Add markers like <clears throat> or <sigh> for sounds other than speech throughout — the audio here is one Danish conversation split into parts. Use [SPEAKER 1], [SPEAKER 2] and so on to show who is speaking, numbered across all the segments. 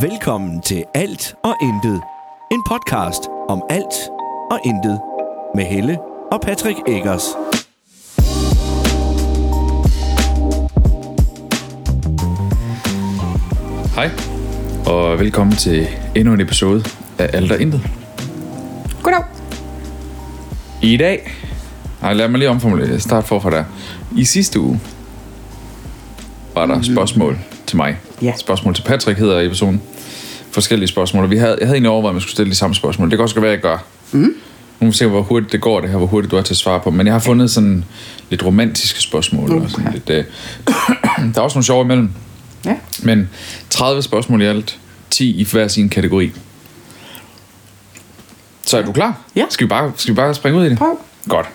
[SPEAKER 1] Velkommen til Alt og Intet. En podcast om alt og intet. Med Helle og Patrick Eggers.
[SPEAKER 2] Hej, og velkommen til endnu en episode af Alt og Intet.
[SPEAKER 3] Goddag.
[SPEAKER 2] I dag... Nej, lad mig lige omformulere. Start forfra der. I sidste uge var der spørgsmål til mig.
[SPEAKER 3] Mhm. Ja.
[SPEAKER 2] Spørgsmål til Patrick hedder episoden. Forskellige spørgsmål. Og vi havde, jeg havde egentlig overvejet, at man skulle stille de samme spørgsmål. Det kan også godt være, at jeg gør. Mm.
[SPEAKER 3] Mhm.
[SPEAKER 2] Nu må vi se, hvor hurtigt det går, det her, hvor hurtigt du er til at svare på. Men jeg har fundet sådan lidt romantiske spørgsmål. Okay. Og sådan lidt, øh... <clears throat> der er også nogle sjove imellem.
[SPEAKER 3] Ja.
[SPEAKER 2] Men 30 spørgsmål i alt, 10 i hver sin kategori. Så er du klar?
[SPEAKER 3] Ja.
[SPEAKER 2] Skal vi bare, skal vi bare springe ud i det?
[SPEAKER 3] Prøv.
[SPEAKER 2] Godt.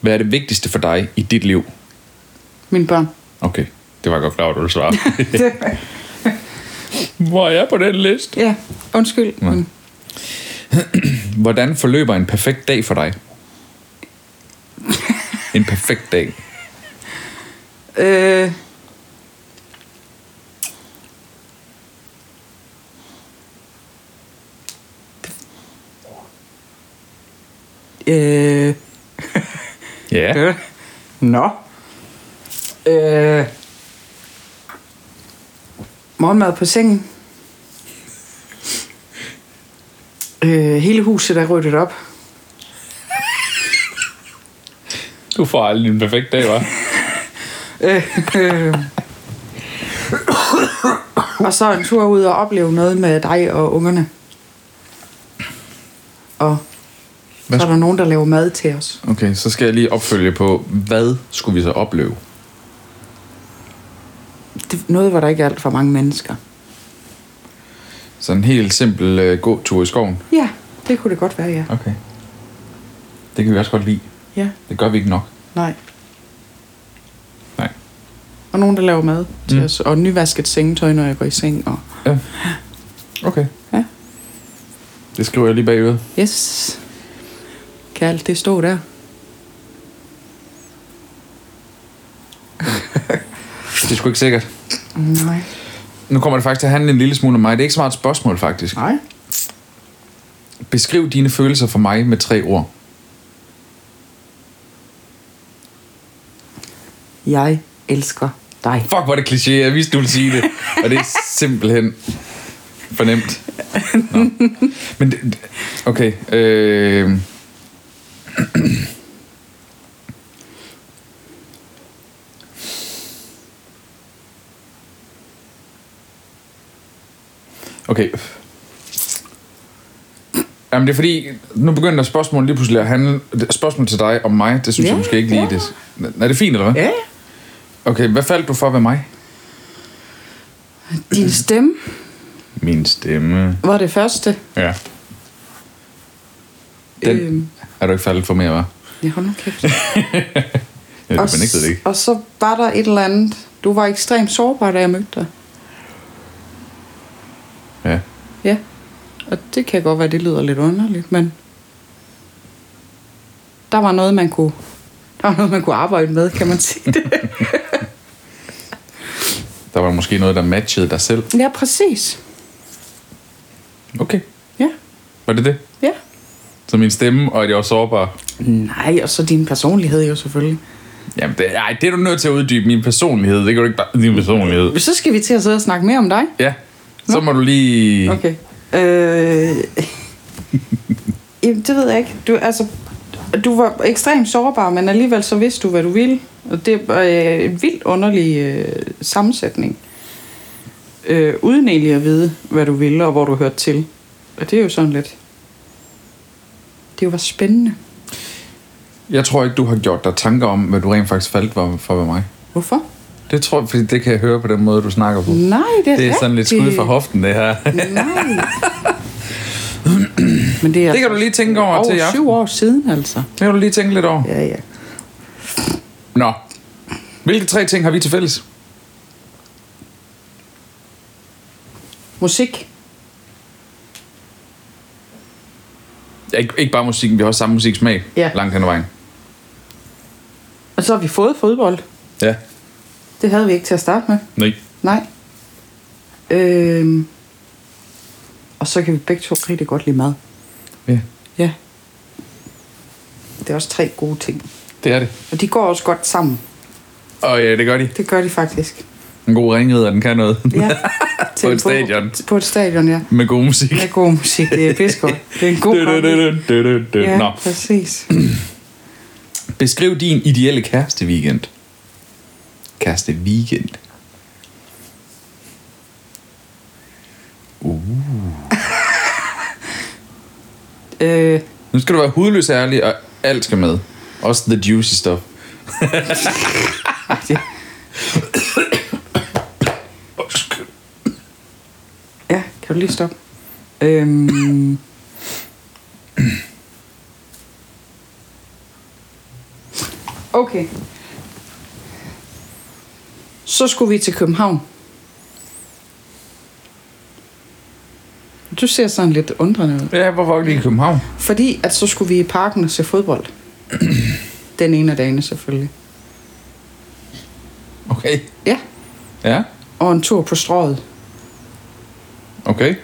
[SPEAKER 2] Hvad er det vigtigste for dig i dit liv?
[SPEAKER 3] Mine børn.
[SPEAKER 2] Okay, det var jeg godt klar, at du ville svare. <laughs> Hvor er jeg på den liste?
[SPEAKER 3] ja, undskyld. Ja. Men
[SPEAKER 2] Hvordan forløber en perfekt dag for dig? En perfekt dag.
[SPEAKER 3] Øh... Øh...
[SPEAKER 2] Ja.
[SPEAKER 3] Øh... Nå. Øh... Morgenmad på sengen. Øh, hele huset er ryddet op.
[SPEAKER 2] Du får aldrig en perfekt dag, hva'?
[SPEAKER 3] Øh, øh. <coughs> og så en tur ud og opleve noget med dig og ungerne. Og
[SPEAKER 2] Hvad
[SPEAKER 3] så er der nogen, der laver mad til os.
[SPEAKER 2] Okay, så skal jeg lige opfølge på, hvad skulle vi så opleve?
[SPEAKER 3] Det, noget, hvor der ikke er alt for mange mennesker.
[SPEAKER 2] Sådan en helt simpel øh, gåtur i skoven.
[SPEAKER 3] Ja, det kunne det godt være, ja.
[SPEAKER 2] Okay. Det kan vi også godt lide.
[SPEAKER 3] Ja,
[SPEAKER 2] Det gør vi ikke nok.
[SPEAKER 3] nej.
[SPEAKER 2] Nej.
[SPEAKER 3] Og nogen, der laver mad til
[SPEAKER 2] Mm.
[SPEAKER 3] os. Og nyvasket sengetøj, når jeg går i seng. Og...
[SPEAKER 2] Ja. Okay.
[SPEAKER 3] Ja.
[SPEAKER 2] Det skriver jeg lige bagud.
[SPEAKER 3] Yes. Kan alt det stå der?
[SPEAKER 2] Det er sgu ikke sikkert.
[SPEAKER 3] Nej.
[SPEAKER 2] Nu kommer det faktisk til at handle en lille smule om mig. Det er ikke så meget et spørgsmål, faktisk.
[SPEAKER 3] Nej?
[SPEAKER 2] Beskriv dine følelser for mig med tre ord.
[SPEAKER 3] Jeg elsker dig.
[SPEAKER 2] Fuck, hvor er det kliché. Jeg vidste, du ville sige det. Og det er simpelthen fornemt. Nå. Men det, okay. Øh... Okay. Jamen det er fordi, nu begynder spørgsmålet lige pludselig at handle, spørgsmål til dig om mig, det synes
[SPEAKER 3] Ja,
[SPEAKER 2] jeg måske ikke lige,
[SPEAKER 3] ja.
[SPEAKER 2] det. Er det fint, eller hvad?
[SPEAKER 3] Ja, ja.
[SPEAKER 2] Okay, hvad faldt du for ved mig?
[SPEAKER 3] Din stemme
[SPEAKER 2] Min stemme.
[SPEAKER 3] var det første.
[SPEAKER 2] Ja. Den
[SPEAKER 3] Øhm.
[SPEAKER 2] øhm. er du ikke faldet for mere, hva'?
[SPEAKER 3] Ja, hold nu kæft.
[SPEAKER 2] Ja,
[SPEAKER 3] og,
[SPEAKER 2] du benægtede det ikke.
[SPEAKER 3] og så var der et eller andet. Du var ekstremt sårbar, da jeg mødte dig.
[SPEAKER 2] Ja.
[SPEAKER 3] Ja. Og det kan godt være, det lyder lidt underligt, men... Der var noget, man kunne... Der var noget, man kunne arbejde med, kan man sige <laughs> det.
[SPEAKER 2] Der var måske noget, der matchede dig selv.
[SPEAKER 3] ja, præcis.
[SPEAKER 2] Okay.
[SPEAKER 3] Ja.
[SPEAKER 2] Var det det?
[SPEAKER 3] Ja.
[SPEAKER 2] Så min stemme, og at jeg var sårbar.
[SPEAKER 3] Nej, og så din personlighed jo selvfølgelig.
[SPEAKER 2] Jamen, det, ej, det er du nødt til at uddybe. Min personlighed, det kan du ikke bare... Din personlighed.
[SPEAKER 3] Så skal vi til at sidde og snakke mere om dig.
[SPEAKER 2] Ja. Så må du lige...
[SPEAKER 3] Okay. Øh, jamen, det ved jeg ikke. Du, altså, du var ekstremt sårbar, men alligevel så vidste du, hvad du ville. Og det var øh, en vildt underlig øh, sammensætning. Øh, uden egentlig at vide, hvad du ville og hvor du hørte til. Og det er jo sådan lidt... Det var spændende.
[SPEAKER 2] Jeg tror ikke, du har gjort dig tanker om, hvad du rent faktisk faldt for, for ved mig.
[SPEAKER 3] Hvorfor?
[SPEAKER 2] Det tror jeg, fordi det kan jeg høre på den måde, du snakker på.
[SPEAKER 3] Nej, det er
[SPEAKER 2] Det er sådan lidt skud
[SPEAKER 3] rigtigt.
[SPEAKER 2] fra hoften, det her.
[SPEAKER 3] Nej. Men det er
[SPEAKER 2] Det kan du lige tænke over til i
[SPEAKER 3] over
[SPEAKER 2] aften.
[SPEAKER 3] syv år siden, altså.
[SPEAKER 2] Det kan du lige tænke lidt over.
[SPEAKER 3] Ja, ja.
[SPEAKER 2] Nå. Hvilke tre ting har vi til fælles?
[SPEAKER 3] Musik.
[SPEAKER 2] Ja, ikke, ikke bare musikken, vi har også samme musiksmag
[SPEAKER 3] Ja.
[SPEAKER 2] langt hen ad vejen.
[SPEAKER 3] Og så har vi fået fodbold.
[SPEAKER 2] Ja.
[SPEAKER 3] Det havde vi ikke til at starte med.
[SPEAKER 2] Nej.
[SPEAKER 3] Nej. Øhm, Og så kan vi begge to rigtig godt lide mad.
[SPEAKER 2] Ja,
[SPEAKER 3] Ja. Det er også tre gode ting.
[SPEAKER 2] det er det.
[SPEAKER 3] Og de går også godt sammen.
[SPEAKER 2] Og ja, det gør de.
[SPEAKER 3] Det gør de faktisk.
[SPEAKER 2] En god ringrider, den kan noget. <laughs>
[SPEAKER 3] Ja.
[SPEAKER 2] På et stadion.
[SPEAKER 3] På et stadion, ja.
[SPEAKER 2] Med god musik.
[SPEAKER 3] Med god musik. Det er pissegodt. Det er en
[SPEAKER 2] <laughs>
[SPEAKER 3] god
[SPEAKER 2] Du, du, du, du, du, du, du.
[SPEAKER 3] Ja,
[SPEAKER 2] Nå.
[SPEAKER 3] præcis.
[SPEAKER 2] Beskriv din ideelle kæreste weekend. Kæreste weekend.
[SPEAKER 3] Øh,
[SPEAKER 2] Nu skal du være hudløs ærlig, og alt skal med. Også the juicy
[SPEAKER 3] <laughs>
[SPEAKER 2] stuff.
[SPEAKER 3] ja, kan du lige stoppe? Øhm, okay. Så skulle vi til København. Du ser sådan lidt undrende ud.
[SPEAKER 2] Ja, hvorfor ikke lige i København?
[SPEAKER 3] Fordi at så skulle vi i parken og se fodbold. Den ene af dagene selvfølgelig.
[SPEAKER 2] Okay.
[SPEAKER 3] Ja,
[SPEAKER 2] Ja,
[SPEAKER 3] og en tur på strået.
[SPEAKER 2] okay.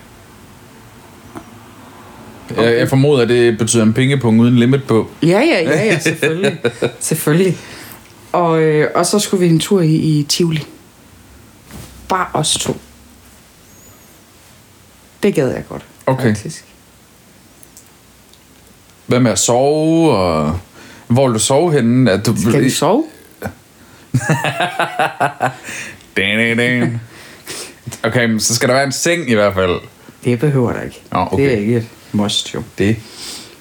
[SPEAKER 2] Jeg, jeg formoder, det betyder en pengepung uden limit på.
[SPEAKER 3] Ja, ja, ja, ja,
[SPEAKER 2] <laughs>
[SPEAKER 3] selvfølgelig. selvfølgelig. Og, øh, og så skulle vi en tur i, i Tivoli. Bare os to. Det gad jeg godt,
[SPEAKER 2] Okay.
[SPEAKER 3] faktisk.
[SPEAKER 2] Hvad med at sove, og... Hvor vil du sove henne? At du...
[SPEAKER 3] Skal vi sove?
[SPEAKER 2] Dan, dan, dan. Okay, men så skal der være en seng i hvert fald.
[SPEAKER 3] Det behøver der ikke.
[SPEAKER 2] Nå, okay.
[SPEAKER 3] Det er ikke et must, jo.
[SPEAKER 2] Det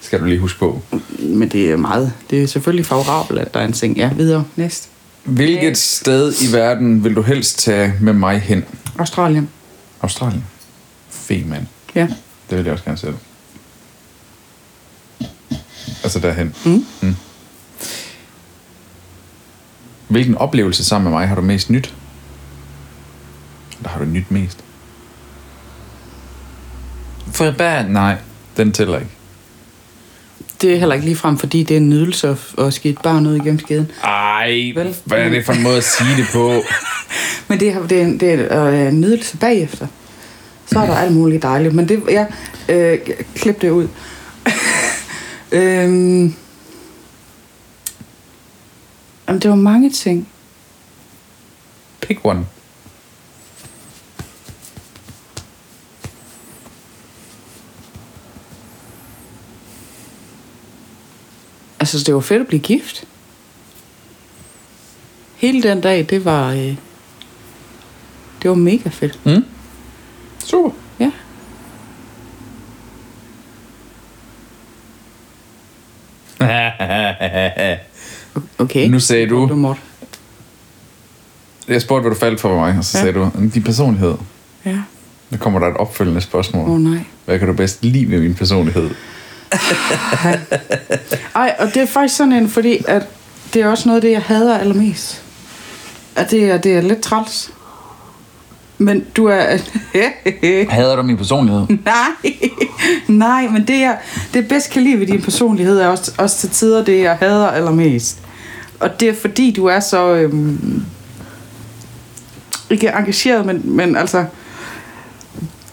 [SPEAKER 2] skal du lige huske på.
[SPEAKER 3] Men det er meget. Det er selvfølgelig favorabelt, at der er en seng. Ja, videre. Næste.
[SPEAKER 2] Hvilket sted i verden vil du helst tage med mig hen?
[SPEAKER 3] Australien.
[SPEAKER 2] Australien. Fed, mand.
[SPEAKER 3] Ja.
[SPEAKER 2] Det vil jeg også gerne selv. Altså derhen. Mm. Mm. Hvilken oplevelse sammen med mig har du mest nyt? Eller har du nyt mest? Fredberg? Nej, den tæller ikke.
[SPEAKER 3] Det er heller ikke ligefrem, fordi det er en nydelse at, at skide bare noget igennem skeden.
[SPEAKER 2] Ej,
[SPEAKER 3] Vel?
[SPEAKER 2] hvad er det for en måde at sige det på?
[SPEAKER 3] Men det, er- det, er en- det er øh, en nydelse bagefter. Så er der alt muligt dejligt. Men det, jeg øh, klip det ud. <laughs> øhm, jamen, det var mange ting.
[SPEAKER 2] <laughs> Pick one.
[SPEAKER 3] Altså, det var fedt at blive gift. Hele den dag, det var... Øh, det var mega fedt.
[SPEAKER 2] Mm? Super. <laughs>
[SPEAKER 3] Ja. Okay.
[SPEAKER 2] Nu sagde du-
[SPEAKER 3] Du måtte.
[SPEAKER 2] Jeg spurgte, hvad du faldt for mig, og så
[SPEAKER 3] Ja.
[SPEAKER 2] ja. sagde du, din personlighed.
[SPEAKER 3] Ja.
[SPEAKER 2] Nu kommer der et opfølgende spørgsmål.
[SPEAKER 3] Åh, oh, nej.
[SPEAKER 2] Hvad kan du bedst lide ved min personlighed?
[SPEAKER 3] Ej, og det er faktisk sådan en, fordi at det er også noget af det, jeg hader allermest. At det er, det er lidt træls. Men du er... <laughs>
[SPEAKER 2] Hader du min personlighed?
[SPEAKER 3] nej, nej, men det, jeg, det jeg bedst kan lide ved din personlighed, er også, også til tider det, jeg hader allermest. Og det er fordi, du er så... Øhm, ikke engageret, men, men altså...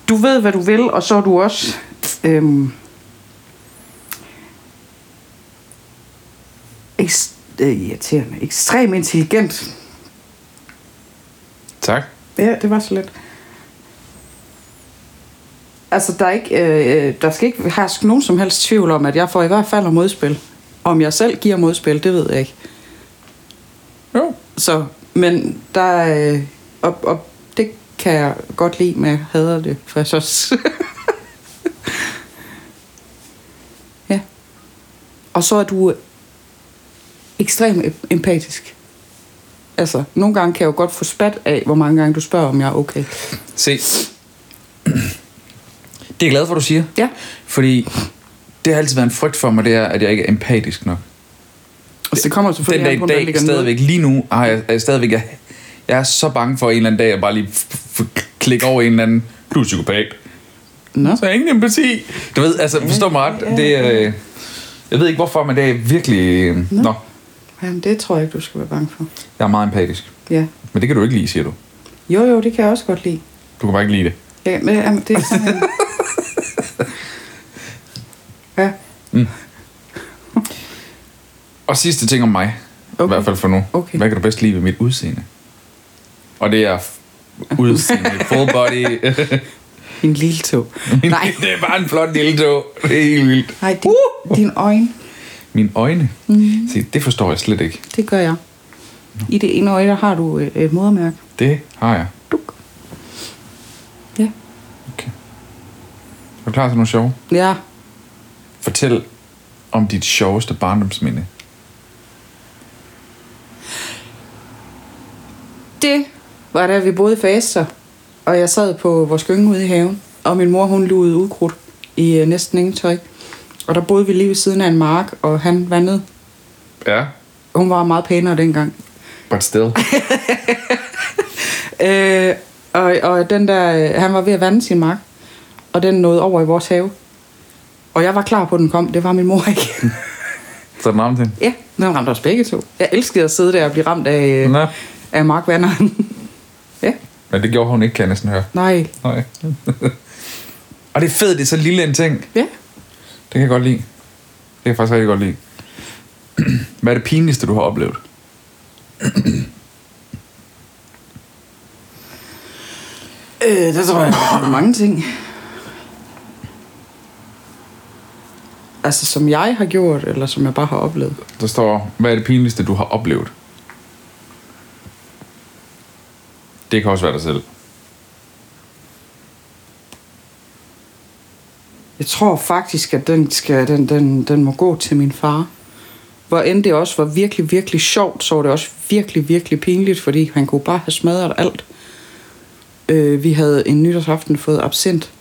[SPEAKER 3] Du ved, hvad du vil, og så er du også... Øhm, ekst, øh, irriterende. Ekstrem intelligent.
[SPEAKER 2] tak.
[SPEAKER 3] Ja, det var så let. Altså, der, er ikke, øh, øh, der skal ikke herske nogen som helst tvivl om, at jeg får i hvert fald modspil. Om jeg selv giver modspil, det ved jeg ikke.
[SPEAKER 2] Jo.
[SPEAKER 3] Så, men der er... Øh, og, og det kan jeg godt lide, men jeg hader det faktisk også. <laughs> ja. Og så er du øh, ekstremt em- empatisk. Altså, nogle gange kan jeg jo godt få spat af, hvor mange gange du spørger, om jeg er okay.
[SPEAKER 2] Se. Det er jeg glad for, du siger.
[SPEAKER 3] Ja.
[SPEAKER 2] Fordi det har altid været en frygt for mig, det er, at jeg ikke er empatisk nok.
[SPEAKER 3] Og så Altså, kommer
[SPEAKER 2] Den
[SPEAKER 3] selvfølgelig
[SPEAKER 2] dag
[SPEAKER 3] an på, om
[SPEAKER 2] i
[SPEAKER 3] der
[SPEAKER 2] dag,
[SPEAKER 3] ligger
[SPEAKER 2] stadigvæk lige nu, har jeg, er jeg stadigvæk... Jeg, jeg er så bange for en eller anden dag, at jeg bare lige f- f- klikke over en eller anden... Du er psykopat.
[SPEAKER 3] Noget. Nå.
[SPEAKER 2] Så ingen empati. Du ved, altså, forstå mig ret. Det, er, øh, jeg ved ikke hvorfor, men det er virkelig... Øh, nå,
[SPEAKER 3] Jamen, det tror jeg ikke, du skal være bange for.
[SPEAKER 2] jeg er meget empatisk.
[SPEAKER 3] Ja.
[SPEAKER 2] Men det kan du ikke lide, siger du.
[SPEAKER 3] Jo, jo, det kan jeg også godt lide.
[SPEAKER 2] Du kan bare ikke lide det.
[SPEAKER 3] Ja, men, jamen, det er sådan en... Ja.
[SPEAKER 2] Og sidste ting om mig, okay. i
[SPEAKER 3] Okay.
[SPEAKER 2] hvert fald for nu.
[SPEAKER 3] Okay.
[SPEAKER 2] Hvad kan du bedst lide ved mit udseende? Og det er f- udseende,
[SPEAKER 3] <laughs>
[SPEAKER 2] full body.
[SPEAKER 3] En lille tog. Nej,
[SPEAKER 2] det er bare en flot lille tog. Det er helt vildt.
[SPEAKER 3] nej din, din øjne,
[SPEAKER 2] Mine øjne,
[SPEAKER 3] Mhm.
[SPEAKER 2] mm. Se, det forstår jeg slet ikke.
[SPEAKER 3] det gør jeg. I det ene øje, der har du øh, et modermærke.
[SPEAKER 2] Det har jeg.
[SPEAKER 3] Duk. Ja.
[SPEAKER 2] Okay. Er du klar til noget sjovt?
[SPEAKER 3] Ja.
[SPEAKER 2] Fortæl om dit sjoveste barndomsminde.
[SPEAKER 3] Det var da vi boede i Faser, og jeg sad på vores gynge ude i haven, og min mor hun lugede ukrudt i øh, næsten ingen tøj. Og der boede vi lige ved siden af en mark, og han vandede.
[SPEAKER 2] Ja,
[SPEAKER 3] Hun var meget pænere dengang.
[SPEAKER 2] but
[SPEAKER 3] <laughs>
[SPEAKER 2] still.
[SPEAKER 3] Øh, og, og den der, øh, han var ved at vande sin mark, og den nåede over i vores have. Og jeg var klar på, at den kom. Det var min mor ikke.
[SPEAKER 2] Så er den ramte
[SPEAKER 3] ja, den ramte os begge to. Jeg elskede at sidde der og blive ramt af, øh,
[SPEAKER 2] Nå.
[SPEAKER 3] af markvanderen. ja,
[SPEAKER 2] Men det gjorde hun ikke, kan jeg næsten høre.
[SPEAKER 3] nej.
[SPEAKER 2] Nej. <laughs> og det er fedt, det er så lille en ting.
[SPEAKER 3] Ja.
[SPEAKER 2] Det kan jeg godt lide. Det kan jeg faktisk rigtig godt lide. <clears throat> Hvad er det pinligste, du har oplevet?
[SPEAKER 3] Øh, der tror jeg, der er mange ting. Altså, som jeg har gjort, eller som jeg bare har oplevet.
[SPEAKER 2] Der står, hvad er det pinligste, du har oplevet? Det kan også være dig selv.
[SPEAKER 3] Jeg tror faktisk, at den, skal, den, den, den må gå til min far. Hvor end det også var virkelig, virkelig sjovt, så var det også virkelig, virkelig pinligt, fordi han kunne bare have smadret alt. Øh, vi havde en nytårsaften fået absint.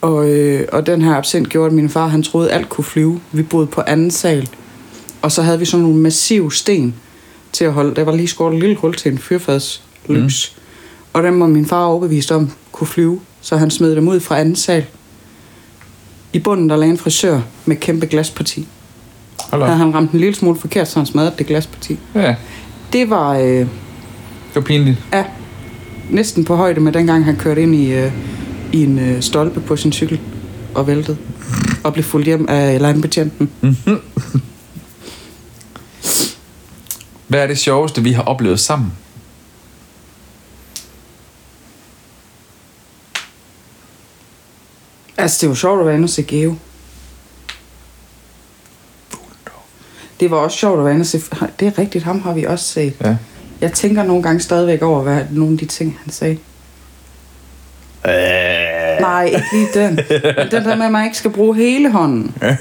[SPEAKER 3] Og, øh, og den her absint gjorde, at min far han troede, alt kunne flyve. Vi boede på anden sal. Og så havde vi sådan nogle massive sten til at holde. Der var lige skåret et lille hul til en fyrfadslys. Mm. Og den var min far overbevist om kunne flyve, så han smed dem ud fra anden sal. I bunden der lagde en frisør med kæmpe glasparti.
[SPEAKER 2] Hold
[SPEAKER 3] Havde
[SPEAKER 2] op.
[SPEAKER 3] han ramt en lille smule forkert, så han smadrede det glasparti.
[SPEAKER 2] Ja,
[SPEAKER 3] Det var øh,
[SPEAKER 2] det var pinligt.
[SPEAKER 3] ja, næsten på højde med dengang, han kørte ind i, øh, i en øh, stolpe på sin cykel og væltede. Og blev fuldt hjem af landbetjenten.
[SPEAKER 2] Hvad er det sjoveste, vi har oplevet sammen?
[SPEAKER 3] Altså, det var sjovt at være inde og se Geo. Det var også sjovt at være inde og se... Det er rigtigt, ham har vi også set.
[SPEAKER 2] Ja.
[SPEAKER 3] Jeg tænker nogle gange stadigvæk over, hvad nogle af de ting, han sagde. Øh. Nej, ikke lige den. Men Den der med, at man ikke skal bruge hele hånden. Ja.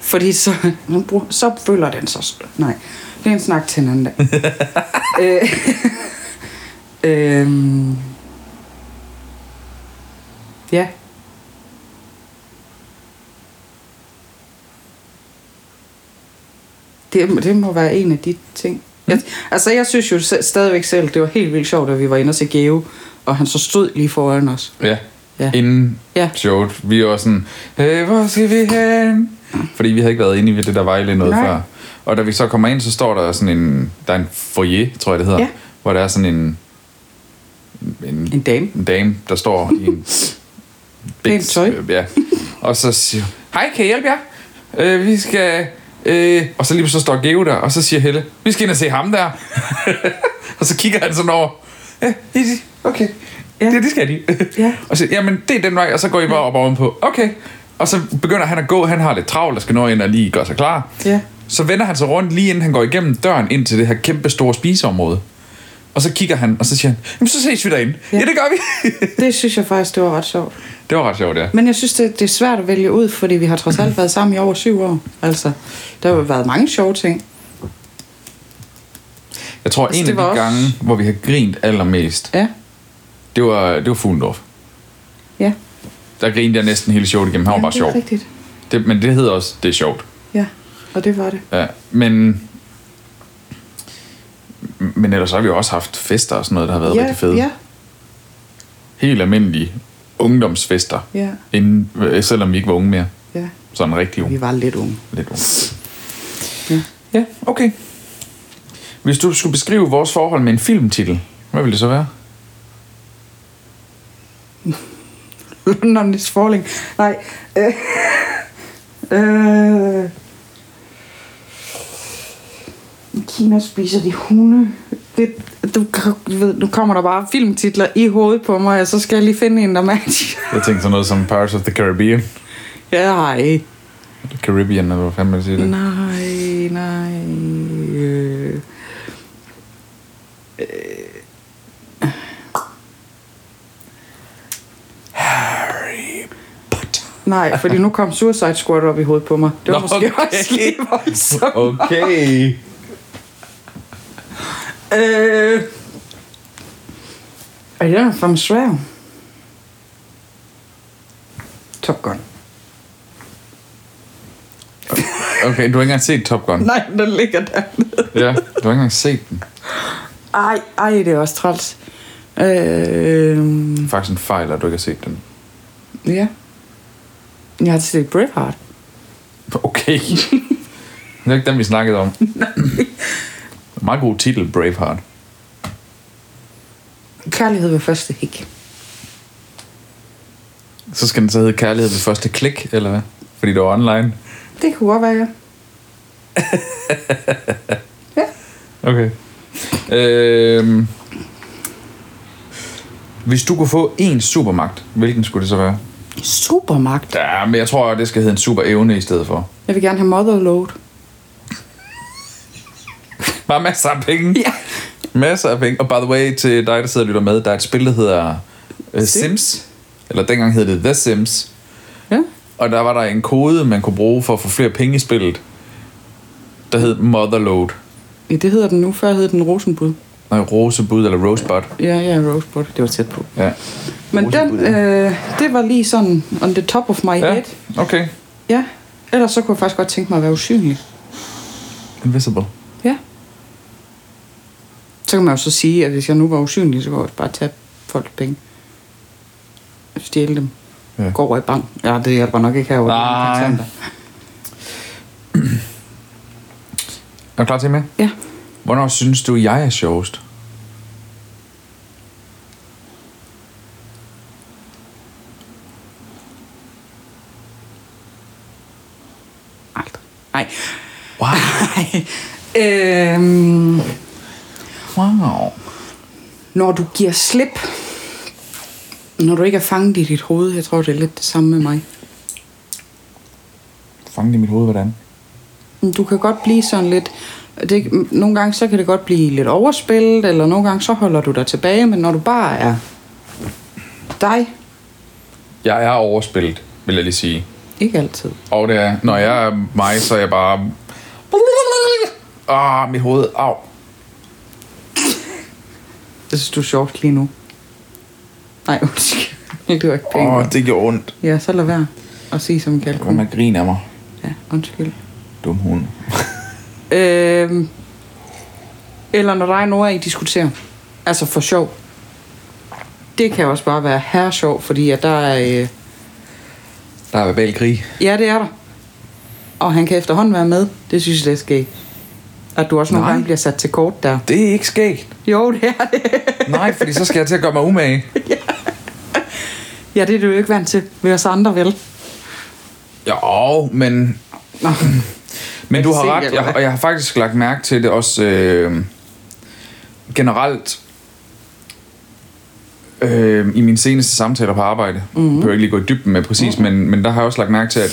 [SPEAKER 3] Fordi så, nu brug- så føler den så... Nej, det er en snak til en anden dag. <laughs> øh, øhm. Ja. Det, det må være en af de ting. Jeg, altså, jeg synes jo se- stadigvæk selv, det var helt vildt sjovt, at vi var inde og se Geo, og han så stod lige foran os.
[SPEAKER 2] Ja.
[SPEAKER 3] Ja.
[SPEAKER 2] Inden
[SPEAKER 3] Ja.
[SPEAKER 2] showet. Vi var sådan, hey, hvor skal vi hen? Fordi vi havde ikke været inde i det der Vejle noget
[SPEAKER 3] Nej.
[SPEAKER 2] før. Og da vi så kommer ind, så står der sådan en, der er en foyer, tror jeg det hedder,
[SPEAKER 3] Ja.
[SPEAKER 2] hvor der er sådan en, en,
[SPEAKER 3] En dame.
[SPEAKER 2] en dame, der står i en
[SPEAKER 3] <laughs>
[SPEAKER 2] øh,
[SPEAKER 3] Pænt tøj.
[SPEAKER 2] Ja. Og så siger hun, hej, kan jeg hjælpe jer? Øh, vi skal... Øh, og så lige så står Geo der, og så siger Helle, vi skal ind og se ham der. <laughs> og så kigger han sådan over. Ja, easy. Okay. Ja.
[SPEAKER 3] Ja.
[SPEAKER 2] Det, det skal de.
[SPEAKER 3] Ja.
[SPEAKER 2] Og så, jamen, det er den vej, og så går I bare op ovenpå. Okay. Og så begynder han at gå, han har lidt travlt, der skal nå ind og lige gøre sig klar.
[SPEAKER 3] Ja.
[SPEAKER 2] Så vender han sig rundt, lige inden han går igennem døren ind til det her kæmpe store spiseområde. Og så kigger han, og så siger han, jamen så ses vi derinde. Ja,
[SPEAKER 3] Ja.
[SPEAKER 2] ja det gør vi. <laughs>
[SPEAKER 3] Det synes jeg faktisk, det var ret sjovt.
[SPEAKER 2] det var ret sjovt, ja.
[SPEAKER 3] Men jeg synes, det, det er svært at vælge ud, fordi vi har trods alt været sammen i over syv år. Altså, der har jo været mange sjove ting.
[SPEAKER 2] Jeg tror,
[SPEAKER 3] Altså,
[SPEAKER 2] en af
[SPEAKER 3] det
[SPEAKER 2] de
[SPEAKER 3] var også-
[SPEAKER 2] gange, hvor vi har grint allermest,
[SPEAKER 3] Ja,
[SPEAKER 2] det var, det var Fuglendorf.
[SPEAKER 3] ja.
[SPEAKER 2] Der grinede jeg næsten hele showet igennem. Han var
[SPEAKER 3] ja,
[SPEAKER 2] bare
[SPEAKER 3] det er
[SPEAKER 2] sjov.
[SPEAKER 3] rigtigt.
[SPEAKER 2] Det, men det hedder også, det er sjovt.
[SPEAKER 3] Ja, og det var det.
[SPEAKER 2] Ja, men... Men ellers har vi jo også haft fester og sådan noget, der har været
[SPEAKER 3] ja,
[SPEAKER 2] rigtig fede.
[SPEAKER 3] ja,
[SPEAKER 2] helt almindelige ungdomsfester,
[SPEAKER 3] Ja.
[SPEAKER 2] inden, øh, selvom vi ikke var unge mere.
[SPEAKER 3] ja.
[SPEAKER 2] Sådan rigtig unge.
[SPEAKER 3] Vi var lidt unge.
[SPEAKER 2] Lidt unge.
[SPEAKER 3] Ja. <laughs>
[SPEAKER 2] Ja, okay. Hvis du skulle beskrive vores forhold med en filmtitel, hvad ville det så være?
[SPEAKER 3] Nå, Niels Forling. Nej. Øh. Øh, I Kina spiser de hunde. Det, du, du ved, nu kommer der bare filmtitler i hovedet på mig, og så skal jeg lige finde en, der matcher.
[SPEAKER 2] Jeg tænkte sådan noget som Pirates of the Caribbean.
[SPEAKER 3] Nej.
[SPEAKER 2] Caribbean, eller hvad fanden man siger det.
[SPEAKER 3] Nej, nej. Øh. Øh. Nej, fordi nu kom Suicide Squad op i hovedet på mig. Det var
[SPEAKER 2] Nå,
[SPEAKER 3] Nå, måske okay.
[SPEAKER 2] okay.
[SPEAKER 3] også lige <laughs> voldsomt.
[SPEAKER 2] Okay.
[SPEAKER 3] Øh. Og jeg er fra svær. Top Gun.
[SPEAKER 2] Okay, du har ikke engang set Top Gun.
[SPEAKER 3] Nej, den ligger der.
[SPEAKER 2] Ja, du har ikke engang set den.
[SPEAKER 3] Ej, ej, det er også træls. Øh.
[SPEAKER 2] Det er faktisk en fejl, at du ikke har set den.
[SPEAKER 3] Ja. Jeg har set Braveheart.
[SPEAKER 2] Okay. <laughs> det er ikke den, vi snakkede om. Meget god titel, Braveheart.
[SPEAKER 3] Kærlighed ved første hik.
[SPEAKER 2] Så skal den så hedde Kærlighed ved første klik, eller hvad? Fordi det var online.
[SPEAKER 3] Det kunne godt være, ja. ja.
[SPEAKER 2] Okay. Øhm, hvis du kunne få én supermagt, hvilken skulle det så være?
[SPEAKER 3] Supermagt.
[SPEAKER 2] Ja, men jeg tror, det skal hedde en super evne i stedet for.
[SPEAKER 3] Jeg vil gerne have Motherload.
[SPEAKER 2] Bare masser af penge.
[SPEAKER 3] Ja.
[SPEAKER 2] Masser af penge. Og by the way, til dig, der sidder og lytter med, der er et spil, der hedder uh, Sims. Eller dengang hed det The Sims.
[SPEAKER 3] Ja.
[SPEAKER 2] Og der var der en kode, man kunne bruge for at få flere penge i spillet, der hed Motherload.
[SPEAKER 3] ja. det hedder den nu. Før hed den Rosenbud.
[SPEAKER 2] Nej, Rosebud eller Rosebud.
[SPEAKER 3] Ja, ja, Rosebud. Det var tæt på.
[SPEAKER 2] Ja.
[SPEAKER 3] Men den,
[SPEAKER 1] Rosenbud,
[SPEAKER 3] øh, det var lige sådan on the top of my
[SPEAKER 2] ja,
[SPEAKER 3] head.
[SPEAKER 2] okay.
[SPEAKER 3] Ja. Ellers så kunne jeg faktisk godt tænke mig at være usynlig.
[SPEAKER 2] Invisible.
[SPEAKER 3] Ja. Så kan man jo så sige, at hvis jeg nu var usynlig, så kunne jeg også bare tage folk penge. Stjæle dem.
[SPEAKER 2] Ja.
[SPEAKER 3] Ja. Gå over i bank. Ja, det hjælper nok ikke herovre.
[SPEAKER 2] Nej. Er du klar til med?
[SPEAKER 3] Ja.
[SPEAKER 2] Hvornår synes du, jeg er sjovest?
[SPEAKER 3] Aldrig. Nej.
[SPEAKER 2] Wow.
[SPEAKER 3] <laughs> Nej. øhm,
[SPEAKER 2] Wow.
[SPEAKER 3] når du giver slip, når du ikke er fanget i dit hoved, jeg tror, det er lidt det samme med mig.
[SPEAKER 2] Fang det i mit hoved, hvordan?
[SPEAKER 3] Men Du kan godt blive sådan lidt... Det, nogle gange så kan det godt blive lidt overspillet, eller nogle gange så holder du dig tilbage, men når du bare er dig,
[SPEAKER 2] Jeg er overspillet, vil jeg lige sige.
[SPEAKER 3] ikke altid.
[SPEAKER 2] Og det er, når jeg er mig, så er jeg bare... Ah, mit hoved, au.
[SPEAKER 3] Det synes du er sjovt lige nu. Nej, undskyld. <laughs> Det var ikke pænt.
[SPEAKER 2] Åh,
[SPEAKER 3] Oh.
[SPEAKER 2] oh, det gjorde ondt.
[SPEAKER 3] Ja, så lad være at sige som en kalkun.
[SPEAKER 2] Kom, man griner af mig.
[SPEAKER 3] Ja, undskyld.
[SPEAKER 2] Dum hund.
[SPEAKER 3] Øhm, eller når der er nogen af I diskuterer. Altså for sjov. Det kan også bare være her sjov, fordi at der er... Øh,
[SPEAKER 2] Der er verbal krig.
[SPEAKER 3] ja, det er der. Og han kan efterhånden være med. Det synes jeg, det er skægt. At du også nogle
[SPEAKER 2] Nej.
[SPEAKER 3] gange bliver sat til kort der.
[SPEAKER 2] Det er ikke skægt.
[SPEAKER 3] Jo, det er det.
[SPEAKER 2] Nej, fordi så skal jeg til at gøre mig umage.
[SPEAKER 3] Ja, det er du jo ikke vant til ved os andre, vel?
[SPEAKER 2] Jo, men...
[SPEAKER 3] Nå.
[SPEAKER 2] Men
[SPEAKER 3] Jeg
[SPEAKER 2] du
[SPEAKER 3] kan
[SPEAKER 2] har
[SPEAKER 3] se det,
[SPEAKER 2] ret,
[SPEAKER 3] eller
[SPEAKER 2] jeg,
[SPEAKER 3] hvad?
[SPEAKER 2] og jeg har faktisk lagt mærke til det også øh, generelt øh, i mine seneste samtaler på arbejde.
[SPEAKER 3] Mhm.
[SPEAKER 2] Mm-hmm. Jeg behøver ikke lige gå i dybden med præcis, mm-hmm. men, men der har jeg også lagt mærke til, at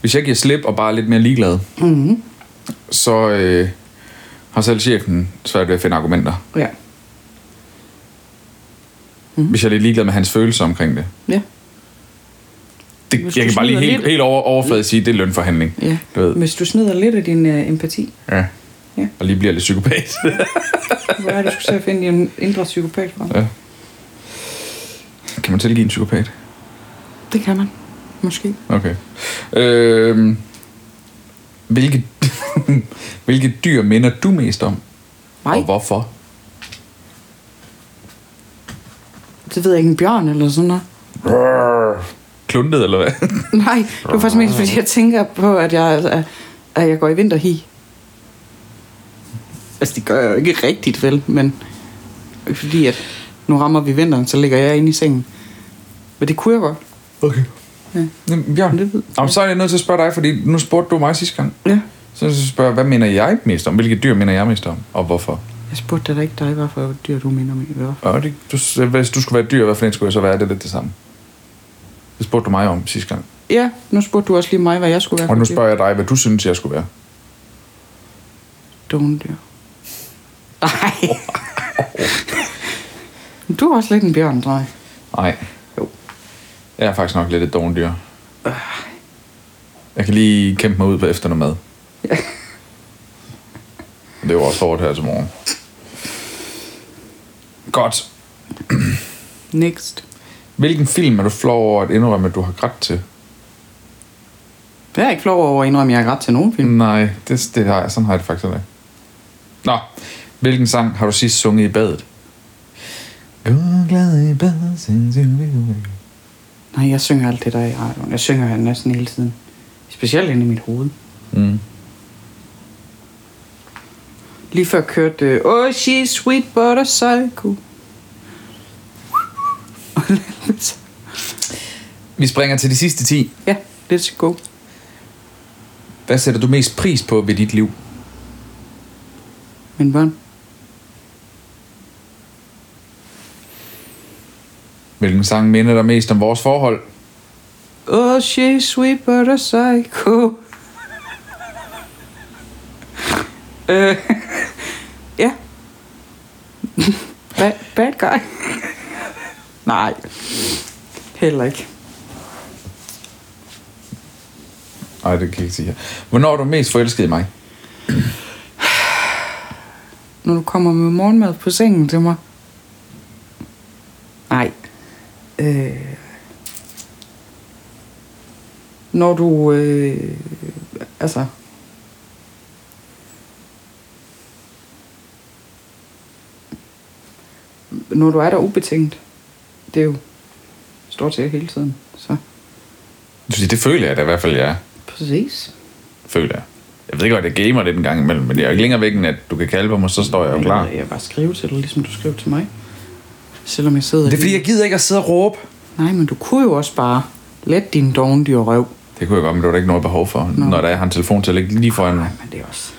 [SPEAKER 2] hvis jeg giver slip og bare er lidt mere ligeglad, mm-hmm.
[SPEAKER 3] Mhm.
[SPEAKER 2] så øh, har selv chefen svært ved at finde argumenter.
[SPEAKER 3] Ja. Mhm.
[SPEAKER 2] Mm-hmm. Hvis jeg er lidt ligeglad med hans følelser omkring det.
[SPEAKER 3] Ja.
[SPEAKER 2] det
[SPEAKER 3] Hvis
[SPEAKER 2] jeg
[SPEAKER 3] du
[SPEAKER 2] kan bare lige
[SPEAKER 3] smider
[SPEAKER 2] helt,
[SPEAKER 3] lidt-
[SPEAKER 2] helt over, overfladet sige, det er lønforhandling.
[SPEAKER 3] ja.
[SPEAKER 2] Du ved.
[SPEAKER 3] Hvis du smider lidt af din øh, empati,
[SPEAKER 2] Ja.
[SPEAKER 3] Ja.
[SPEAKER 2] Og lige bliver lidt
[SPEAKER 3] <laughs>
[SPEAKER 2] psykopat.
[SPEAKER 3] hvor er det, du skal til at finde en indre psykopat fra?
[SPEAKER 2] Ja. Kan man tilgive en psykopat?
[SPEAKER 3] Det kan man. Måske.
[SPEAKER 2] Okay. Øhm, hvilke, <laughs> hvilke dyr minder du mest om?
[SPEAKER 3] Nej.
[SPEAKER 2] Og hvorfor?
[SPEAKER 3] Det ved jeg ikke, en bjørn eller sådan noget.
[SPEAKER 2] Kluntet, eller hvad?
[SPEAKER 3] Nej, det var faktisk mest, fordi jeg tænker på, at jeg, at jeg går i vinterhi. Altså, det gør jeg jo ikke rigtigt, vel? Men fordi, at nu rammer vi vinteren, så ligger jeg inde i sengen. Men det kunne jeg godt.
[SPEAKER 2] Okay. Jamen, Bjørn,
[SPEAKER 3] Det ved jeg.
[SPEAKER 2] Jamen, så er jeg nødt til at spørge dig, fordi nu spurgte du mig sidste gang.
[SPEAKER 3] Ja.
[SPEAKER 2] Så er jeg nødt til at spørge, hvad mener jeg mest om? Hvilke dyr mener jeg mest om? Og hvorfor?
[SPEAKER 3] Jeg spurgte dig da ikke dig, hvorfor dyr du minder mig. Hvorfor?
[SPEAKER 2] Og det, du, øh, hvis du skulle være et dyr, hvad for en skulle jeg så være? Det er lidt det samme. Det spurgte du mig om sidste gang.
[SPEAKER 3] Ja, nu spurgte du også lige mig, hvad jeg skulle være.
[SPEAKER 2] Og
[SPEAKER 3] for
[SPEAKER 2] nu
[SPEAKER 3] et dyr.
[SPEAKER 2] spørger jeg dig, hvad du synes, jeg skulle være.
[SPEAKER 3] Dovendyr.
[SPEAKER 2] <laughs>
[SPEAKER 3] Nej. du er også lidt en bjørn, tror jeg.
[SPEAKER 2] Nej.
[SPEAKER 3] Jo.
[SPEAKER 2] Jeg er faktisk nok lidt et dårligt dyr. Jeg kan lige kæmpe mig ud på efter noget <laughs> mad.
[SPEAKER 3] Ja.
[SPEAKER 2] Det var også hårdt her til morgen. Godt.
[SPEAKER 3] Next.
[SPEAKER 2] Hvilken film er du flov over at indrømme, at du har grædt til?
[SPEAKER 3] Jeg er ikke flov over at indrømme, at jeg er ret til nogen film.
[SPEAKER 2] Nej, det, det har jeg. Sådan har jeg det faktisk heller ikke. Nå, hvilken sang har du sidst sunget i badet? God glad i badet, since you will.
[SPEAKER 3] Nej, jeg synger alt det, der er i radioen. Jeg synger han næsten hele tiden. Specielt inde i mit hoved.
[SPEAKER 2] Mm.
[SPEAKER 3] Lige før kørte øh, Oh, she's sweet but a psycho.
[SPEAKER 2] Vi springer til de sidste 10.
[SPEAKER 3] <laughs> ja, let's go.
[SPEAKER 2] Hvad sætter du mest pris på ved dit liv?
[SPEAKER 3] Min børn.
[SPEAKER 2] Hvilken sang minder dig mest om vores forhold?
[SPEAKER 3] Oh, she's sweet but a psycho. <laughs> øh, <laughs> ja. <laughs> bad, bad guy. <laughs> Nej, heller ikke.
[SPEAKER 2] Nej, det kan jeg ikke sige her. Hvornår er du mest forelsket i mig?
[SPEAKER 3] Når du kommer med morgenmad på sengen til mig. Nej. Øh. Når du... Øh, altså... Når du er der ubetinget. Det er jo stort set hele tiden. Så
[SPEAKER 2] Du siger, det føler jeg da i hvert fald, jeg er.
[SPEAKER 3] præcis.
[SPEAKER 2] Føler jeg. Jeg ved godt, jeg gamer lidt en gang imellem, men jeg er jo ikke længere væk, end at du kan kalde på mig, så står jeg jo klar.
[SPEAKER 3] Jeg kan bare skrive til dig, ligesom du skrev til mig. Selvom jeg sidder
[SPEAKER 2] Det er fordi,
[SPEAKER 3] lige-
[SPEAKER 2] jeg gider ikke at sidde og råbe.
[SPEAKER 3] Nej, men du kunne jo også bare let din dovendyr røv.
[SPEAKER 2] Det kunne jeg godt, men det var der ikke noget behov for, Nå. når der er, har en telefon til at ligge lige foran mig.
[SPEAKER 3] Nej, men det er også...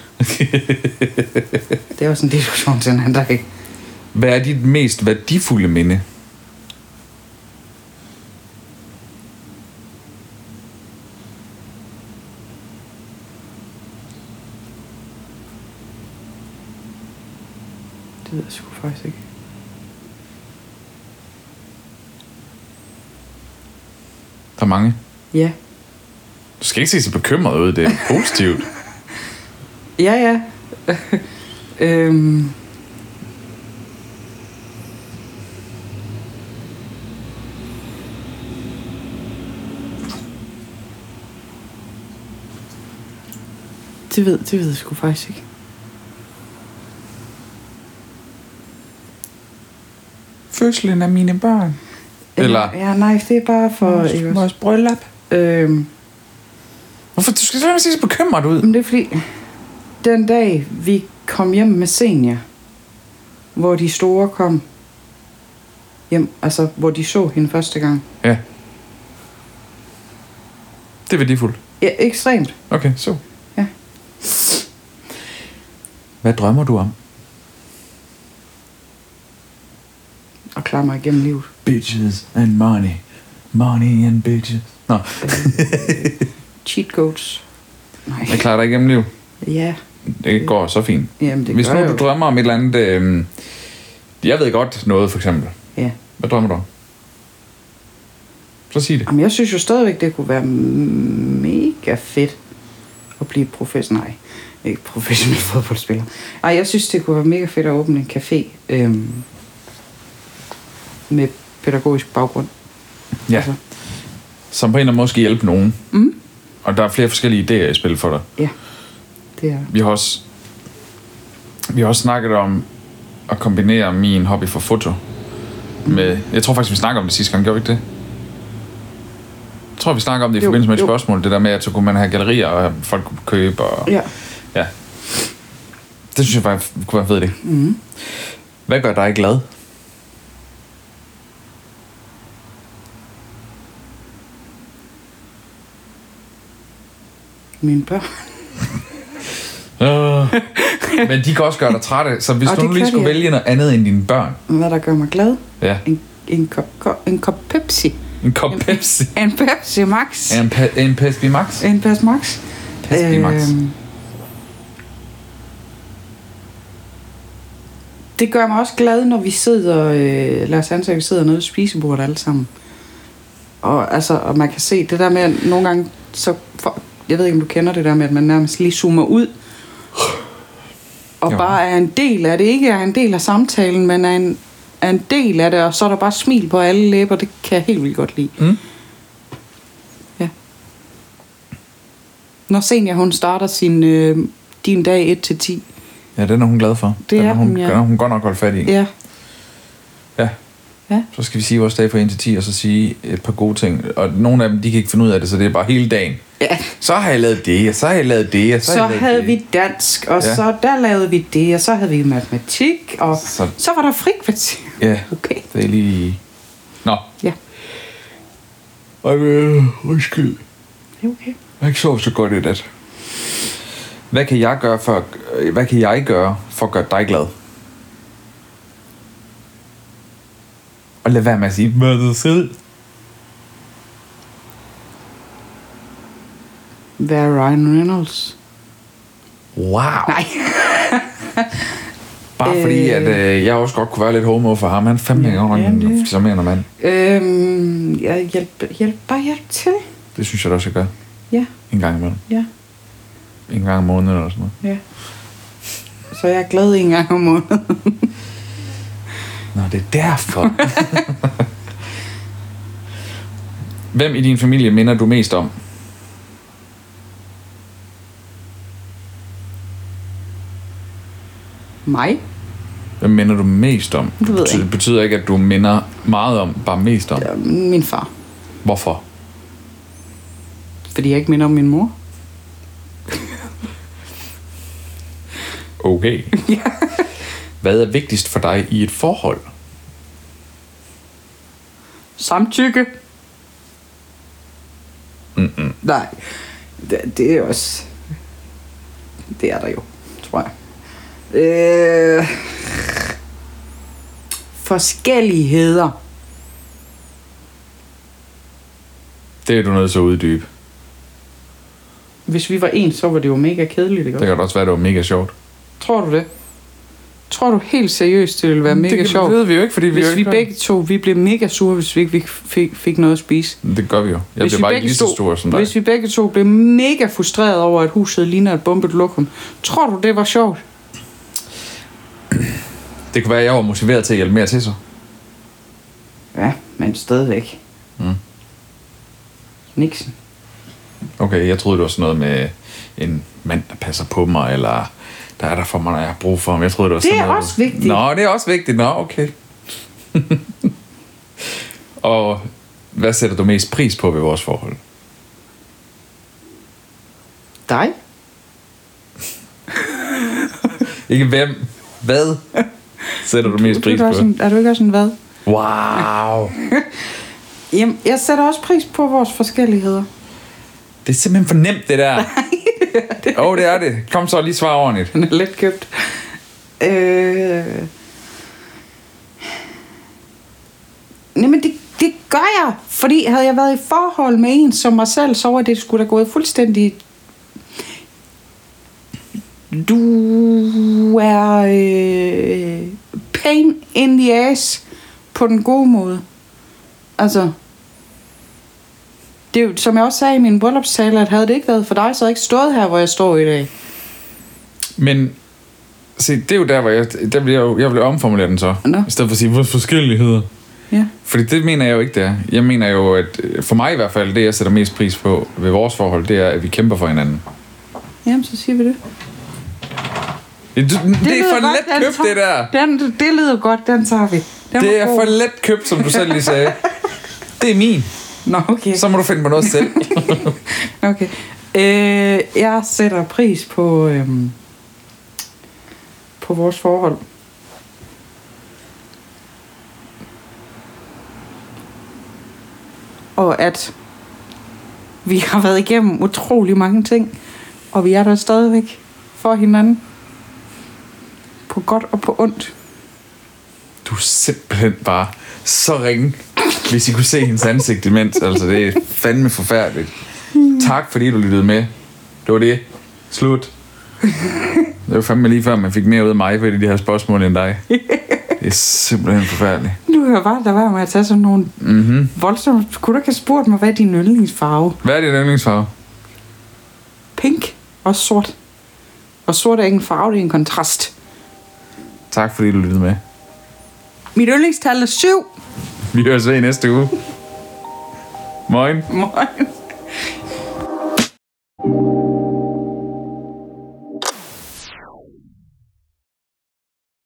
[SPEAKER 3] det er også en diskussion til en anden dag.
[SPEAKER 2] Hvad er dit mest værdifulde minde?
[SPEAKER 3] Det ved jeg sgu faktisk ikke.
[SPEAKER 2] Der er mange.
[SPEAKER 3] Ja.
[SPEAKER 2] Du skal ikke se så bekymret ud, det er <laughs> positivt.
[SPEAKER 3] Ja, ja. <laughs> øhm. Det ved, det ved jeg sgu faktisk ikke.
[SPEAKER 2] Fødslen af mine børn. Eller-
[SPEAKER 3] Ja, nej, det er bare for... ikke også?
[SPEAKER 2] bryllup.
[SPEAKER 3] Øhm.
[SPEAKER 2] Hvorfor? Du skal selvfølgelig se så bekymret ud.
[SPEAKER 3] Men det er fordi, den dag vi kom hjem med senior, hvor de store kom hjem, altså hvor de så hende første gang.
[SPEAKER 2] Ja. Det er værdifuldt.
[SPEAKER 3] Ja, ekstremt.
[SPEAKER 2] Okay, så.
[SPEAKER 3] Ja.
[SPEAKER 2] Hvad drømmer du om?
[SPEAKER 3] Og klare mig igennem livet.
[SPEAKER 2] Bitches and money. Money and bitches. Nå,
[SPEAKER 3] Cheat codes. Nej.
[SPEAKER 2] jeg klarer dig igennem liv.
[SPEAKER 3] Ja.
[SPEAKER 2] Det går så fint.
[SPEAKER 3] Jamen, det
[SPEAKER 2] Hvis
[SPEAKER 3] gør
[SPEAKER 2] nu
[SPEAKER 3] jeg
[SPEAKER 2] du
[SPEAKER 3] jo.
[SPEAKER 2] drømmer om et eller andet... Øh, jeg ved godt noget, for eksempel.
[SPEAKER 3] Ja.
[SPEAKER 2] Hvad drømmer du om? Så sig det.
[SPEAKER 3] Jamen, jeg synes jo stadigvæk, det kunne være mega fedt at blive professionel. Nej, ikke professionel <laughs> fodboldspiller. Nej, jeg synes, det kunne være mega fedt at åbne en café øhm, med pædagogisk baggrund.
[SPEAKER 2] Ja.
[SPEAKER 3] Altså.
[SPEAKER 2] Som på en eller anden måde skal hjælpe nogen.
[SPEAKER 3] Mm.
[SPEAKER 2] Og der er flere forskellige idéer i spil for dig.
[SPEAKER 3] Ja, det er
[SPEAKER 2] Vi har også, vi har også snakket om at kombinere min hobby for foto med...
[SPEAKER 3] Mm.
[SPEAKER 2] Jeg tror faktisk, vi snakker om det sidste gang, gjorde vi ikke det? Jeg tror, vi snakker om det i
[SPEAKER 3] Jo,
[SPEAKER 2] forbindelse med et
[SPEAKER 3] jo.
[SPEAKER 2] spørgsmål. Det der med, at så kunne man have gallerier, og folk kunne købe. Og,
[SPEAKER 3] Ja.
[SPEAKER 2] ja. Det synes jeg faktisk kunne være fedt, det. Mm.
[SPEAKER 3] Mm-hmm.
[SPEAKER 2] Hvad gør dig glad?
[SPEAKER 3] mine børn. <laughs>
[SPEAKER 2] Øh. Men de kan også gøre dig træt, så hvis
[SPEAKER 3] Og
[SPEAKER 2] du
[SPEAKER 3] det
[SPEAKER 2] nu lige
[SPEAKER 3] kan
[SPEAKER 2] skulle
[SPEAKER 3] de, altså. ja.
[SPEAKER 2] vælge noget andet end dine børn.
[SPEAKER 3] Hvad der gør mig glad?
[SPEAKER 2] Ja.
[SPEAKER 3] En, en, kop, kop, en kop Pepsi.
[SPEAKER 2] En kop Pepsi.
[SPEAKER 3] En Pepsi Max.
[SPEAKER 2] En, pe- en Pepsi Max.
[SPEAKER 3] En Pepsi Max.
[SPEAKER 2] Pepsi Max.
[SPEAKER 3] Øhm, det gør mig også glad, når vi sidder, øh, lad os antage, at vi sidder nede ved spisebordet alle sammen. Og, altså, og man kan se det der med, at nogle gange, så for, jeg ved ikke, om du kender det der med, at man nærmest lige zoomer ud,
[SPEAKER 2] Jo.
[SPEAKER 3] og jo. bare er en del af det. Ikke er en del af samtalen, men er en, er en del af det, og så er der bare smil på alle læber. Det kan jeg helt vildt godt lide.
[SPEAKER 2] Mm.
[SPEAKER 3] Ja. Når senior, hun starter sin, øh, din dag 1-10.
[SPEAKER 2] Ja, den er hun glad for.
[SPEAKER 3] Det
[SPEAKER 2] den
[SPEAKER 3] er
[SPEAKER 2] hun,
[SPEAKER 3] hun, ja.
[SPEAKER 2] Den har hun godt nok holdt fat i.
[SPEAKER 3] Ja,
[SPEAKER 2] ja.
[SPEAKER 3] ja.
[SPEAKER 2] Så skal vi sige vores dag fra 1 til 10, og så sige et par gode ting. Og nogle af dem, de kan ikke finde ud af det, så det er bare hele dagen.
[SPEAKER 3] ja.
[SPEAKER 2] Så har jeg lavet det, og så har jeg lavet det, og så,
[SPEAKER 3] Så
[SPEAKER 2] har jeg lavet
[SPEAKER 3] havde
[SPEAKER 2] det.
[SPEAKER 3] vi dansk, og
[SPEAKER 2] Ja.
[SPEAKER 3] ja. så der lavede vi det, og så havde vi matematik, og
[SPEAKER 2] Så-
[SPEAKER 3] så, så var der frikvarter. <laughs>
[SPEAKER 2] Ja,
[SPEAKER 3] Okay.
[SPEAKER 2] det er lige... Nå.
[SPEAKER 3] Ja,
[SPEAKER 2] Ej, men, øh, undskyld.
[SPEAKER 3] det er okay.
[SPEAKER 2] Jeg har ikke sovet så godt i nat. Hvad kan jeg gøre for, øh, hvad kan jeg gøre for at gøre dig glad? Og lad være med at sige, hvad du selv.
[SPEAKER 3] Hvad er Ryan Reynolds?
[SPEAKER 2] Wow.
[SPEAKER 3] Nej.
[SPEAKER 2] Bare fordi, at øh, jeg også godt kunne være lidt homo for ham. Han er fandme ikke nok
[SPEAKER 3] jamen,
[SPEAKER 2] en
[SPEAKER 3] det-
[SPEAKER 2] charmerende mand.
[SPEAKER 3] øhm, ja, hjælp, hjælp, bare hjælp til.
[SPEAKER 2] Det synes jeg da også, jeg gør.
[SPEAKER 3] Ja,
[SPEAKER 2] En gang imellem.
[SPEAKER 3] ja,
[SPEAKER 2] En gang om måneden eller sådan noget.
[SPEAKER 3] ja. Så jeg er glad en gang om måneden. <laughs>
[SPEAKER 2] Nå, det er derfor. Hvem i din familie minder du mest om?
[SPEAKER 3] Mig?
[SPEAKER 2] Hvem minder du mest om?
[SPEAKER 3] Det ved jeg
[SPEAKER 2] betyder,
[SPEAKER 3] ikke.
[SPEAKER 2] det betyder ikke, at du minder meget om, bare mest om. Ja.
[SPEAKER 3] Ja, min far.
[SPEAKER 2] Hvorfor?
[SPEAKER 3] Fordi jeg ikke minder om min mor. <laughs>
[SPEAKER 2] Okay. ja. Hvad er vigtigst for dig i et forhold?
[SPEAKER 3] Samtykke. Mm-mm. Nej, det, det er også... Det er der jo, tror jeg. Øh, forskelligheder.
[SPEAKER 2] Det er du nødt til at uddybe.
[SPEAKER 3] Hvis vi var ens, så var det jo mega kedeligt, ikke?
[SPEAKER 2] Det kan da også være, at det var mega sjovt.
[SPEAKER 3] Tror du det? Tror du helt seriøst, det ville være mega
[SPEAKER 2] det
[SPEAKER 3] sjovt?
[SPEAKER 2] Det ved vi jo ikke, fordi vi jo
[SPEAKER 3] Hvis vi
[SPEAKER 2] ikke
[SPEAKER 3] begge to, vi blev mega sure, hvis vi ikke fik, fik, fik noget at spise.
[SPEAKER 2] Det gør vi jo. Jeg
[SPEAKER 3] Hvis
[SPEAKER 2] bliver
[SPEAKER 3] vi
[SPEAKER 2] bare
[SPEAKER 3] begge
[SPEAKER 2] ikke lige så
[SPEAKER 3] to-
[SPEAKER 2] stor som dig.
[SPEAKER 3] Hvis vi begge to blev mega frustreret over, at huset ligner et bombet lokum. Tror du, det var sjovt?
[SPEAKER 2] Det kunne være, at jeg var motiveret til at hjælpe mere til sig.
[SPEAKER 3] Ja, men stadigvæk. Mm. Nixon.
[SPEAKER 2] Okay, jeg troede, det var sådan noget med en mand, der passer på mig, eller der er der for mig, når jeg har brug for ham. Jeg troede, det var
[SPEAKER 3] Det
[SPEAKER 2] sådan
[SPEAKER 3] er
[SPEAKER 2] noget.
[SPEAKER 3] også vigtigt.
[SPEAKER 2] Nå, det er også vigtigt. Nå, okay. <laughs> Og hvad sætter du mest pris på ved vores forhold?
[SPEAKER 3] Dig?
[SPEAKER 2] Ikke hvem,
[SPEAKER 3] <laughs>
[SPEAKER 2] hvad sætter du mest
[SPEAKER 3] Du er,
[SPEAKER 2] pris
[SPEAKER 3] da
[SPEAKER 2] på?
[SPEAKER 3] også en, er du ikke også en hvad? <laughs>
[SPEAKER 2] Wow.
[SPEAKER 3] Jamen, jeg sætter også pris på vores forskelligheder.
[SPEAKER 2] Det er simpelthen for nemt, det
[SPEAKER 3] <laughs>
[SPEAKER 2] der. Åh, oh, det er det. Kom så lige svar ordentligt.
[SPEAKER 3] Den er let købt. Øh... Jamen, det, det gør jeg. Fordi havde jeg været i forhold med en som mig selv, så var det skulle da gået fuldstændig... Du er øh, pain in the ass på den gode måde. Altså, det er jo, som jeg også sagde i min bryllupstale, at havde det ikke været for dig, så havde jeg ikke stået her, hvor jeg står i dag.
[SPEAKER 2] Men se, det er jo der, hvor jeg, der vil jeg, jo- jeg vil omformulere den så.
[SPEAKER 3] Nå.
[SPEAKER 2] I stedet for at sige, vores forskelligheder.
[SPEAKER 3] Ja.
[SPEAKER 2] Fordi det mener jeg jo ikke, det er. Jeg mener jo, at øh, for mig i hvert fald, det jeg sætter mest pris på ved vores forhold, det er, at vi kæmper for hinanden.
[SPEAKER 3] Jamen, så siger vi det.
[SPEAKER 2] Det, det, det er
[SPEAKER 3] lyder
[SPEAKER 2] for
[SPEAKER 3] godt,
[SPEAKER 2] let
[SPEAKER 3] den
[SPEAKER 2] købt,
[SPEAKER 3] tager-
[SPEAKER 2] det der.
[SPEAKER 3] Den, det lyder godt, den tager vi. Den
[SPEAKER 2] Det
[SPEAKER 3] var
[SPEAKER 2] er
[SPEAKER 3] god.
[SPEAKER 2] for let købt, som du selv lige sagde. Det er min.
[SPEAKER 3] Nå, okay.
[SPEAKER 2] Så må du finde på noget selv.
[SPEAKER 3] <laughs> okay. Øh, jeg sætter pris på, øhm, på vores forhold. Og at vi har været igennem utrolig mange ting. Og vi er der stadigvæk for hinanden. På godt og på ondt.
[SPEAKER 2] Du er simpelthen bare så ringe. Hvis I kunne se hendes ansigt imens, altså det er fandme forfærdeligt. Tak fordi du lyttede med. Det var det. Slut. Det var fandme lige før, man fik mere ud af mig ved de her spørgsmål end dig. Det er simpelthen forfærdeligt.
[SPEAKER 3] Nu kan jeg bare lade være med at tage sådan nogle mm-hmm. voldsomme... Kunne du ikke have spurgt mig, hvad er din yndlingsfarve?
[SPEAKER 2] Hvad er din yndlingsfarve?
[SPEAKER 3] Pink og sort. Og sort er ikke en farve, det er en kontrast.
[SPEAKER 2] Tak fordi du lyttede med.
[SPEAKER 3] Mit yndlingstal er syv.
[SPEAKER 2] Vi høres ved i næste uge. Moin.
[SPEAKER 3] Moin.